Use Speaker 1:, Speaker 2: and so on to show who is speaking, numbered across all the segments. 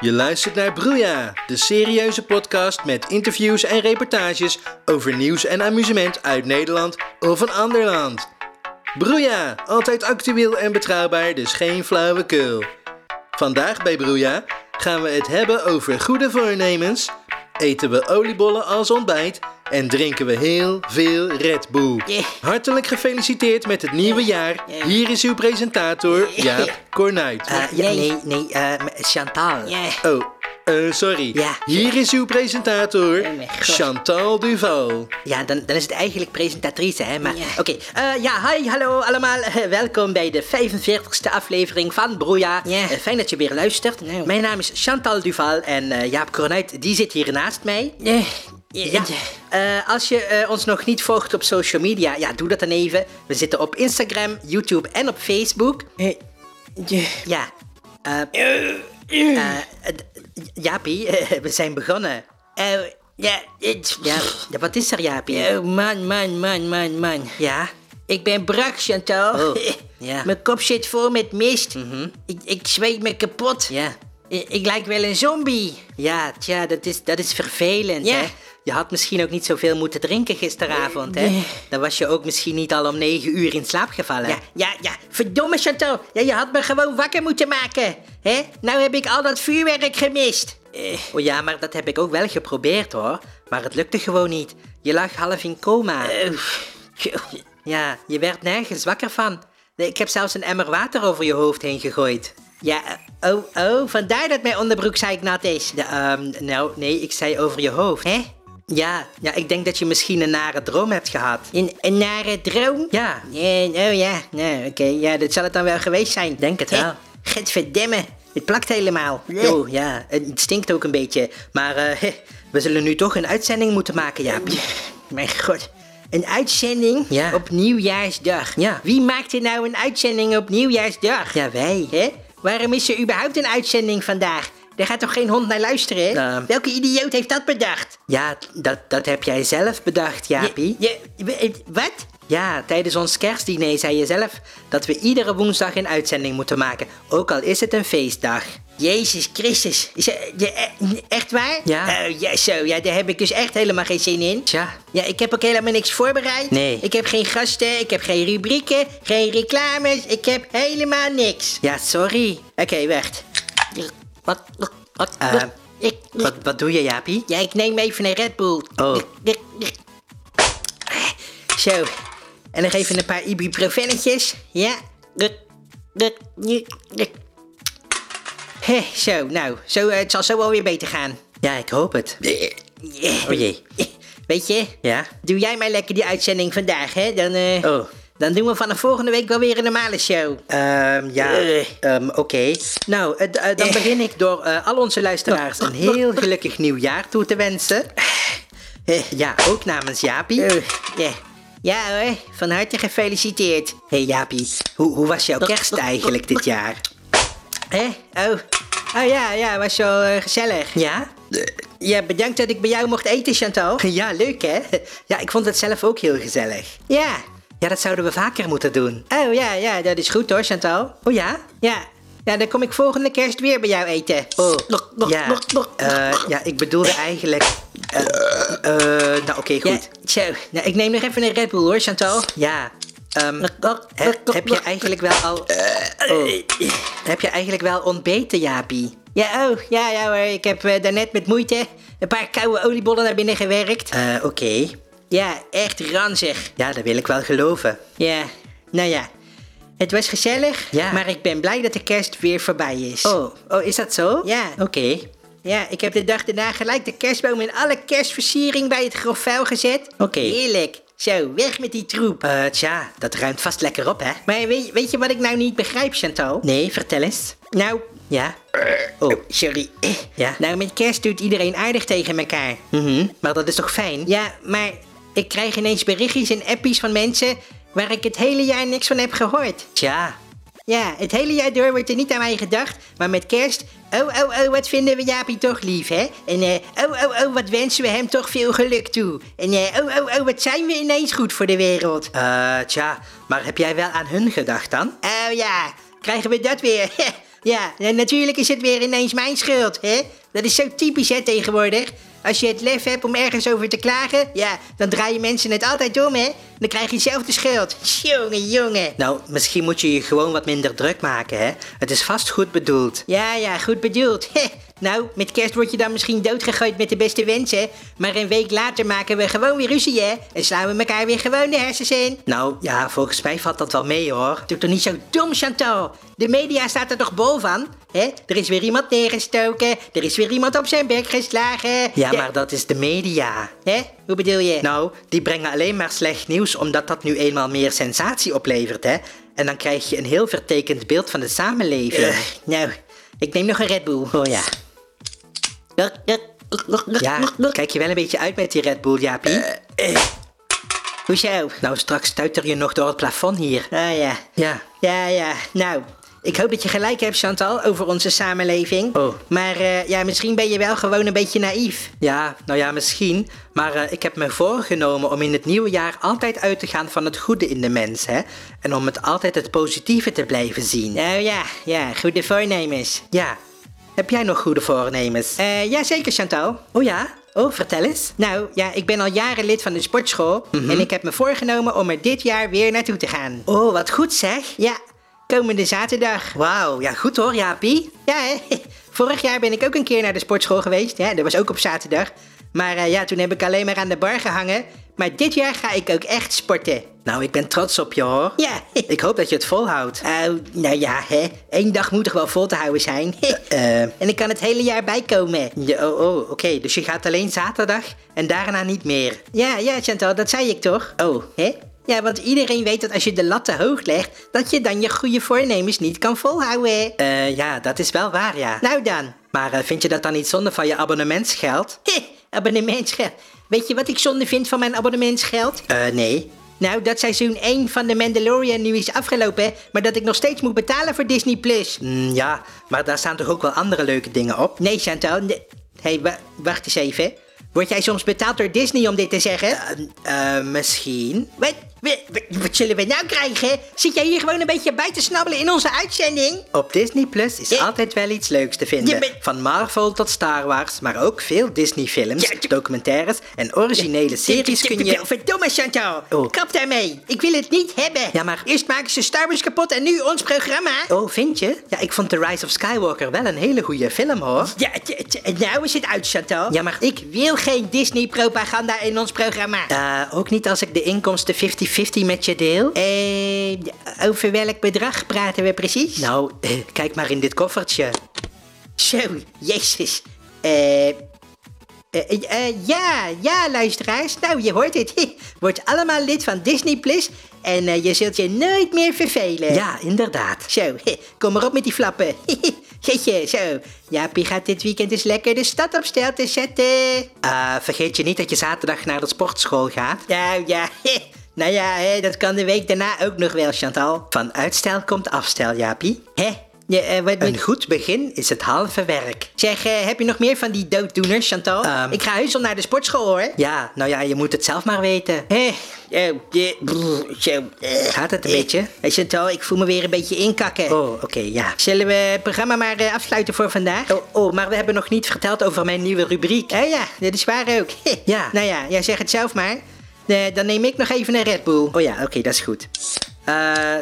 Speaker 1: Je luistert naar Broeia, de serieuze podcast met interviews en reportages over nieuws en amusement uit Nederland of een ander land. Broeia, altijd actueel en betrouwbaar, dus geen flauwekul. Vandaag bij Broeia gaan we het hebben over goede voornemens, eten we oliebollen als ontbijt en drinken we heel veel Red Bull.
Speaker 2: Yeah.
Speaker 1: Hartelijk gefeliciteerd met het nieuwe jaar. Hier is uw presentator Jaap Cornuit.
Speaker 2: Eh, ja,
Speaker 3: Nee.
Speaker 2: nee, nee, eh, m- Chantal.
Speaker 3: Ja,
Speaker 1: Oh, eh, sorry.
Speaker 2: Ja.
Speaker 1: Hier is uw presentator,
Speaker 3: Oh mijn God.
Speaker 1: Chantal Duval.
Speaker 2: Ja, dan, dan is het eigenlijk presentatrice, hè? Maar
Speaker 3: Ja.
Speaker 2: oké. Eh, ja, hi, hallo allemaal. Eh, welkom bij de 45ste aflevering van Broeia. Eh,
Speaker 3: Ja.
Speaker 2: fijn dat je weer luistert.
Speaker 3: Nou.
Speaker 2: Mijn naam is Chantal Duval en eh, Jaap Cornuit, die zit hier naast mij.
Speaker 3: ja,
Speaker 2: Ja.
Speaker 3: ja,
Speaker 2: Eh, als je eh, ons nog niet volgt op social media, ja, doe dat dan even. We zitten op Instagram, YouTube en op Facebook.
Speaker 3: ja, ja,
Speaker 2: Ja. Eh eh, d- Jaapie, we zijn begonnen.
Speaker 3: eh, ja, het-
Speaker 2: Ja, ja, wat is er, Jaapie?
Speaker 3: Oh, man, man, man, man, man.
Speaker 2: Ja?
Speaker 3: Ik ben brak, Chantal.
Speaker 2: Oh, ja. Mhm.
Speaker 3: Mijn kop zit vol met mist. Ik, ik zweet me kapot.
Speaker 2: Ja.
Speaker 3: Ik, ik lijk wel een zombie.
Speaker 2: Ja, tja, dat is, dat is vervelend,
Speaker 3: Ja.
Speaker 2: hè? Je had misschien ook niet zoveel moeten drinken gisteravond, hè?
Speaker 3: Nee.
Speaker 2: Dan was je ook misschien niet al om negen uur in slaap gevallen.
Speaker 3: Ja, ja, ja. Verdomme, Chantal. Ja, je had me gewoon wakker moeten maken. hè? Nou heb ik al dat vuurwerk gemist. Eh,
Speaker 2: Oh ja, maar dat heb ik ook wel geprobeerd, hoor. Maar het lukte gewoon niet. Je lag half in coma.
Speaker 3: Eh, tjoh.
Speaker 2: Ja, je werd nergens wakker van. Nee, Ik heb zelfs een emmer water over je hoofd heen gegooid.
Speaker 3: ja, eh, oh, oh, vandaar dat mijn onderbroek zeiknat is.
Speaker 2: De, ehm, nou, nee, ik zei over je hoofd.
Speaker 3: Hè?
Speaker 2: Ja, ja, ik denk dat je misschien een nare droom hebt gehad.
Speaker 3: Een, een nare droom?
Speaker 2: Ja,
Speaker 3: Eh, oh ja, nou oké, ja, dat zal het dan wel geweest zijn.
Speaker 2: Denk het wel.
Speaker 3: Getverdemme, het plakt helemaal.
Speaker 2: joh, ja, het stinkt ook een beetje. Maar eh, we zullen nu toch een uitzending moeten maken, Jaap.
Speaker 3: Mijn god, een uitzending
Speaker 2: Ja.
Speaker 3: op Nieuwjaarsdag.
Speaker 2: Ja.
Speaker 3: Wie maakt er nou een uitzending op Nieuwjaarsdag?
Speaker 2: Ja, wij.
Speaker 3: Hè? Waarom is er überhaupt een uitzending vandaag? Daar gaat toch geen hond naar luisteren? hè?
Speaker 2: Nou.
Speaker 3: Welke idioot heeft dat bedacht?
Speaker 2: Ja, dat, dat heb jij zelf bedacht, Jaapie.
Speaker 3: Je, je- w- eh, wat?
Speaker 2: Ja, tijdens ons kerstdiner zei je zelf dat we iedere woensdag een uitzending moeten maken, ook al is het een feestdag.
Speaker 3: Jezus Christus. Is, eh, je- eh, echt waar?
Speaker 2: Ja.
Speaker 3: Oh, ja, zo. Ja, daar heb ik dus echt helemaal geen zin in.
Speaker 2: Tja.
Speaker 3: Ja, ik heb ook helemaal niks voorbereid.
Speaker 2: Nee.
Speaker 3: Ik heb geen gasten, ik heb geen rubrieken, geen reclames. Ik heb helemaal niks.
Speaker 2: Ja, sorry.
Speaker 3: Oké, wacht. Wat? Wat?
Speaker 2: Eh,
Speaker 3: ik,
Speaker 2: Wat, wat doe je, Jaapie?
Speaker 3: Ja, ik neem even een Red Bull.
Speaker 2: Oh.
Speaker 3: Zo. En nog even een paar ibuprofennetjes. Ja. Hé, zo, nou. Zo, eh, het zal zo wel weer beter gaan. Eh,
Speaker 2: Ja, ik hoop het. Oh jee.
Speaker 3: Weet je,
Speaker 2: Ja?
Speaker 3: doe jij maar lekker die uitzending vandaag, hè? Dan, eh,
Speaker 2: Oh.
Speaker 3: dan doen we vanaf volgende week wel weer een normale show.
Speaker 2: Ehm, ja,
Speaker 3: Eh.
Speaker 2: ehm, oké. Nou, eh, d- eh, dan begin ik door eh, al onze luisteraars een heel gelukkig nieuwjaar toe te wensen. Eh, Ja, ook namens Jaapie.
Speaker 3: Eh,
Speaker 2: Hé
Speaker 3: ja. ja hoor, van harte gefeliciteerd.
Speaker 2: hey Jaapie, hoe, hoe was jouw kerst eigenlijk dit jaar?
Speaker 3: Hè? Oh. oh ja, ja, was wel eh, gezellig.
Speaker 2: Ja?
Speaker 3: Ja, bedankt dat ik bij jou mocht eten, Chantal.
Speaker 2: Ja, leuk hè? Ja, ik vond het zelf ook heel gezellig.
Speaker 3: Ja.
Speaker 2: Ja, dat zouden we vaker moeten doen.
Speaker 3: Oh ja, ja, dat is goed hoor, Chantal.
Speaker 2: Oh ja?
Speaker 3: Ja. Ja, dan kom ik volgende kerst weer bij jou eten.
Speaker 2: Oh,
Speaker 3: Nog, nog,
Speaker 2: ja.
Speaker 3: nog, nog.
Speaker 2: Eh, ja, ik bedoelde eigenlijk... eh, eh, nou, oké,
Speaker 3: Ja,
Speaker 2: goed.
Speaker 3: zo. Nou, ik neem nog even een Red Bull hoor, Chantal.
Speaker 2: Ja. ehm,
Speaker 3: Nog, nog,
Speaker 2: he-
Speaker 3: nog, nog,
Speaker 2: heb je
Speaker 3: nog.
Speaker 2: eigenlijk wel al...
Speaker 3: Eh,
Speaker 2: Oh. Heb je eigenlijk wel ontbeten, Jaapie?
Speaker 3: Ja, oh, ja, ja hoor. Ik heb eh, daarnet met moeite een paar koude oliebollen naar binnen gewerkt.
Speaker 2: Eh, oké.
Speaker 3: Ja, echt ranzig.
Speaker 2: Ja, dat wil ik wel geloven.
Speaker 3: Ja, nou ja. Het was gezellig,
Speaker 2: Ja.
Speaker 3: maar ik ben blij dat de kerst weer voorbij is.
Speaker 2: Oh, oh is dat zo?
Speaker 3: Ja.
Speaker 2: Oké.
Speaker 3: Ja, ik heb de dag daarna gelijk de kerstboom en alle kerstversiering bij het grof vuil gezet.
Speaker 2: Oké.
Speaker 3: Heerlijk. Zo, weg met die troep.
Speaker 2: Eh, tja, dat ruimt vast lekker op, hè?
Speaker 3: Maar weet, weet je wat ik nou niet begrijp, Chantal?
Speaker 2: Nee, vertel eens.
Speaker 3: Nou,
Speaker 2: Ja. Oh,
Speaker 3: Eh, sorry.
Speaker 2: Ja.
Speaker 3: Nou, met kerst doet iedereen aardig tegen elkaar.
Speaker 2: mhm. maar dat is toch fijn?
Speaker 3: Ja, maar ik krijg ineens berichtjes en appies van mensen waar ik het hele jaar niks van heb gehoord.
Speaker 2: Tja.
Speaker 3: Ja, het hele jaar door wordt er niet aan mij gedacht, maar met kerst... Oh, oh, oh, wat vinden we Jaapie toch lief, hè? En eh, oh, oh, oh, wat wensen we hem toch veel geluk toe. En eh, oh, oh, oh, wat zijn we ineens goed voor de wereld.
Speaker 2: Eh, tja, maar heb jij wel aan hun gedacht dan?
Speaker 3: Oh ja, krijgen we dat weer. Ja, en natuurlijk is het weer ineens mijn schuld, hè? Dat is zo typisch, hè, tegenwoordig. Als je het lef hebt om ergens over te klagen, ja, dan draaien mensen het altijd om, hè? Dan krijg je zelf de schuld. Jongen, jongen.
Speaker 2: Nou, misschien moet je je gewoon wat minder druk maken, hè? Het is vast goed bedoeld.
Speaker 3: Ja, ja, goed bedoeld. Heh. Nou, met kerst word je dan misschien doodgegooid met de beste wensen. Maar een week later maken we gewoon weer ruzie, hè? En slaan we elkaar weer gewoon de hersens in.
Speaker 2: Nou, ja, volgens mij valt dat wel mee, hoor.
Speaker 3: Doe toch niet zo dom, Chantal. De media staat er toch bol van? Hè? Er is weer iemand neergestoken. Er is weer iemand op zijn bek geslagen.
Speaker 2: Ja, maar dat is de media.
Speaker 3: Hè? Hoe bedoel je?
Speaker 2: Nou, die brengen alleen maar slecht nieuws omdat dat nu eenmaal meer sensatie oplevert, hè? En dan krijg je een heel vertekend beeld van de samenleving.
Speaker 3: Ugh, nou, ik neem nog een Red Bull.
Speaker 2: Oh ja. Ja, kijk je wel een beetje uit met die Red Bull, Jaapie?
Speaker 3: Eh, Hoezo?
Speaker 2: Nou, straks stuiter je nog door het plafond hier.
Speaker 3: Ah ja.
Speaker 2: Ja.
Speaker 3: Ja, ja. Nou, ik hoop dat je gelijk hebt, Chantal, over onze samenleving.
Speaker 2: Oh.
Speaker 3: Maar eh, ja, misschien ben je wel gewoon een beetje naïef.
Speaker 2: Ja, nou ja, misschien. Maar eh, ik heb me voorgenomen om in het nieuwe jaar altijd uit te gaan van het goede in de mens, hè? En om het altijd het positieve te blijven zien.
Speaker 3: Nou ja, ja, goede voornemens.
Speaker 2: Ja. Heb jij nog goede voornemens?
Speaker 3: Eh jazeker, Chantal.
Speaker 2: Oh ja? Oh, vertel eens.
Speaker 3: Nou, ja, ik ben al jaren lid van de sportschool. En ik heb me voorgenomen om er dit jaar weer naartoe te gaan.
Speaker 2: Oh, wat goed zeg.
Speaker 3: Ja, komende zaterdag.
Speaker 2: Wauw, ja goed hoor, Jaapie.
Speaker 3: Ja, hè? vorig jaar ben ik ook een keer naar de sportschool geweest. Ja, dat was ook op zaterdag. Maar eh, ja, toen heb ik alleen maar aan de bar gehangen. Maar dit jaar ga ik ook echt sporten.
Speaker 2: Nou, ik ben trots op je hoor.
Speaker 3: Ja,
Speaker 2: Ik hoop dat je het volhoudt.
Speaker 3: Oh, nou ja, hè. Eén dag moet toch wel vol te houden zijn.
Speaker 2: Eh, eh.
Speaker 3: en ik kan het hele jaar bijkomen.
Speaker 2: Ja, oh, oh oké. Dus je gaat alleen zaterdag en daarna niet meer.
Speaker 3: Ja, ja, Chantal, dat zei ik toch?
Speaker 2: Oh,
Speaker 3: Hè? Ja, want iedereen weet dat als je de lat te hoog legt, dat je dan je goede voornemens niet kan volhouden.
Speaker 2: eh, ja, dat is wel waar, ja.
Speaker 3: Nou dan.
Speaker 2: Maar eh, vind je dat dan niet zonde van je abonnementsgeld?
Speaker 3: Heh, abonnementsgeld. Weet je wat ik zonde vind van mijn abonnementsgeld?
Speaker 2: Eh, nee.
Speaker 3: Nou, dat seizoen 1 van The Mandalorian nu is afgelopen, maar dat ik nog steeds moet betalen voor Disney+. Plus.
Speaker 2: Mm, ja, maar daar staan toch ook wel andere leuke dingen op?
Speaker 3: Nee, Chantal. nee. Hé, hey, wa- wacht eens even. Word jij soms betaald door Disney om dit te zeggen?
Speaker 2: Eh, misschien.
Speaker 3: Wat, wat, wat, wat zullen we nou krijgen? Zit jij hier gewoon een beetje bij te snabbelen in onze uitzending?
Speaker 2: Op Disney Plus is
Speaker 3: Ja.
Speaker 2: altijd wel iets leuks te
Speaker 3: Ja,
Speaker 2: vinden.
Speaker 3: maar-
Speaker 2: Van Marvel tot Star Wars, maar ook veel Disney-films,
Speaker 3: Ja, ja.
Speaker 2: documentaires en originele series kun je.
Speaker 3: Verdomme, Chantal.
Speaker 2: Oh.
Speaker 3: Kap daarmee. Ik wil het niet hebben.
Speaker 2: Ja, maar-
Speaker 3: Eerst maken ze Star Wars kapot en nu ons programma.
Speaker 2: Oh, vind je? Ja, ik vond The Rise of Skywalker wel een hele goede film hoor.
Speaker 3: Ja, t- t- nou is het uit, Chantal.
Speaker 2: Ja, maar-
Speaker 3: Ik wil geen Disney-propaganda in ons programma.
Speaker 2: Eh, ook niet als ik de inkomsten 50-50 met je deel?
Speaker 3: Eh, over welk bedrag praten we precies?
Speaker 2: Nou, eh, kijk maar in dit koffertje.
Speaker 3: Zo, jezus. Eh... eh, eh, eh, ja, ja, luisteraars. Nou, je hoort het. Word allemaal lid van Disney Plus en eh, je zult je nooit meer vervelen.
Speaker 2: Ja, inderdaad.
Speaker 3: Zo, kom maar op met die flappen. Jeetje, zo. Jaapie gaat dit weekend eens lekker de stad op stel te zetten.
Speaker 2: Eh, vergeet je niet dat je zaterdag naar de sportschool gaat.
Speaker 3: Nou ja, nou ja, hè, dat kan de week daarna ook nog wel, Chantal.
Speaker 2: Van uitstel komt afstel, Jaapie.
Speaker 3: Hè? Ja, eh, wat moet...
Speaker 2: Een goed begin is het halve werk.
Speaker 3: Zeg, eh, heb je nog meer van die dooddoeners, Chantal?
Speaker 2: Ehm.
Speaker 3: Ik ga heus al naar de sportschool, hoor.
Speaker 2: Ja, nou ja, je moet het zelf maar weten.
Speaker 3: Hé, oh, eh, brr, zo. eh.
Speaker 2: Gaat het een
Speaker 3: Eh,
Speaker 2: beetje?
Speaker 3: eh, Chantal, ik voel me weer een beetje inkakken.
Speaker 2: Oh, oké, ja.
Speaker 3: Zullen we het programma maar eh, afsluiten voor vandaag?
Speaker 2: Oh, oh, maar we hebben nog niet verteld over mijn nieuwe rubriek.
Speaker 3: Oh ja, dit is waar ook.
Speaker 2: Ja.
Speaker 3: Nou ja, jij zegt het zelf maar. Eh, dan neem ik nog even een Red Bull.
Speaker 2: Oh ja, oké, dat is goed. Eh,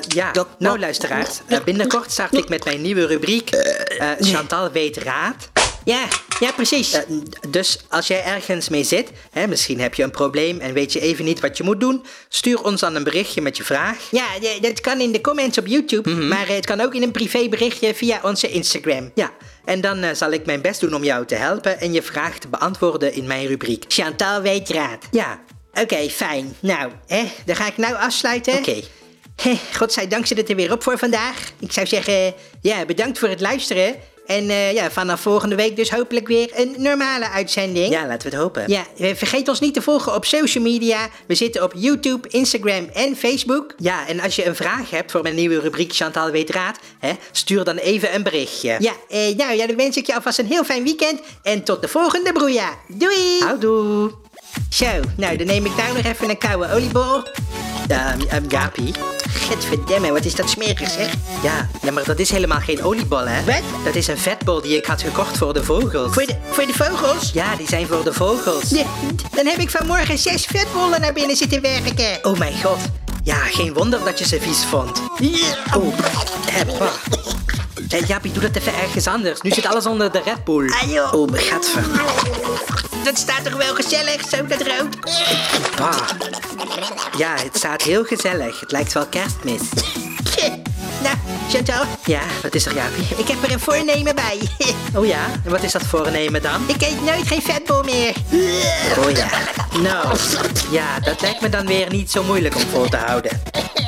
Speaker 2: ja, nou luisteraars, eh, binnenkort start ik met mijn nieuwe rubriek eh, Chantal weet raad.
Speaker 3: Ja, ja, precies.
Speaker 2: Eh, dus als jij ergens mee zit, hè, misschien heb je een probleem en weet je even niet wat je moet doen, stuur ons dan een berichtje met je vraag. Mhm.
Speaker 3: Ja, d- dat kan in de comments op YouTube, maar eh, het kan ook in een privéberichtje via onze Instagram.
Speaker 2: Ja, en dan eh, zal ik mijn best doen om jou te helpen en je vraag te beantwoorden in mijn rubriek.
Speaker 3: Chantal weet raad.
Speaker 2: Ja,
Speaker 3: Oké, fijn. Nou, hè, dan ga ik nou afsluiten.
Speaker 2: Oké.
Speaker 3: Hè, Godzijdank zit het er weer op voor vandaag. Ik zou zeggen, ja, bedankt voor het luisteren. En eh, ja, vanaf volgende week dus hopelijk weer een normale uitzending.
Speaker 2: ja, laten we het hopen.
Speaker 3: Ja, eh, vergeet ons niet te volgen op social media. We zitten op YouTube, Instagram en Facebook.
Speaker 2: Ja, en als je een vraag hebt voor mijn nieuwe rubriek Chantal weet raad, hè, stuur dan even een berichtje.
Speaker 3: Ja, eh, nou ja, dan wens ik je alvast een heel fijn weekend. En tot de volgende broeia. Doei!
Speaker 2: Houdoe.
Speaker 3: Zo, nou dan neem ik daar nog even een koude oliebol.
Speaker 2: Ehm, ehm, Jaapie. Getverdamme, wat is dat smerig zeg.
Speaker 3: Ja, ja, maar dat is helemaal geen oliebol, hè?
Speaker 2: Wat?
Speaker 3: Dat is een vetbol die ik had gekocht voor de vogels.
Speaker 2: Voor de, voor de vogels?
Speaker 3: Ja, die zijn voor de vogels.
Speaker 2: Ja, Dan heb ik vanmorgen zes vetbollen naar binnen zitten werken.
Speaker 3: Oh mijn god. Ja, geen wonder dat je ze vies vond.
Speaker 2: Ja.
Speaker 3: Oh, Ebba. Hé, Jaapie, doe dat even ergens anders. Nu zit alles onder de Red Bull.
Speaker 2: Ah, joh.
Speaker 3: Oh, gadver.
Speaker 2: Dat staat toch wel gezellig, zo dat rood?
Speaker 3: Bah. Ja, het staat heel gezellig. Het lijkt wel kerstmis.
Speaker 2: Nou, Chantal,
Speaker 3: Ja, wat is er, Jaapie?
Speaker 2: ik heb er een voornemen bij.
Speaker 3: Oh ja, en wat is dat voornemen dan?
Speaker 2: Ik eet nooit geen vetbol meer.
Speaker 3: Oh ja. Nou, ja, dat lijkt me dan weer niet zo moeilijk om vol te houden.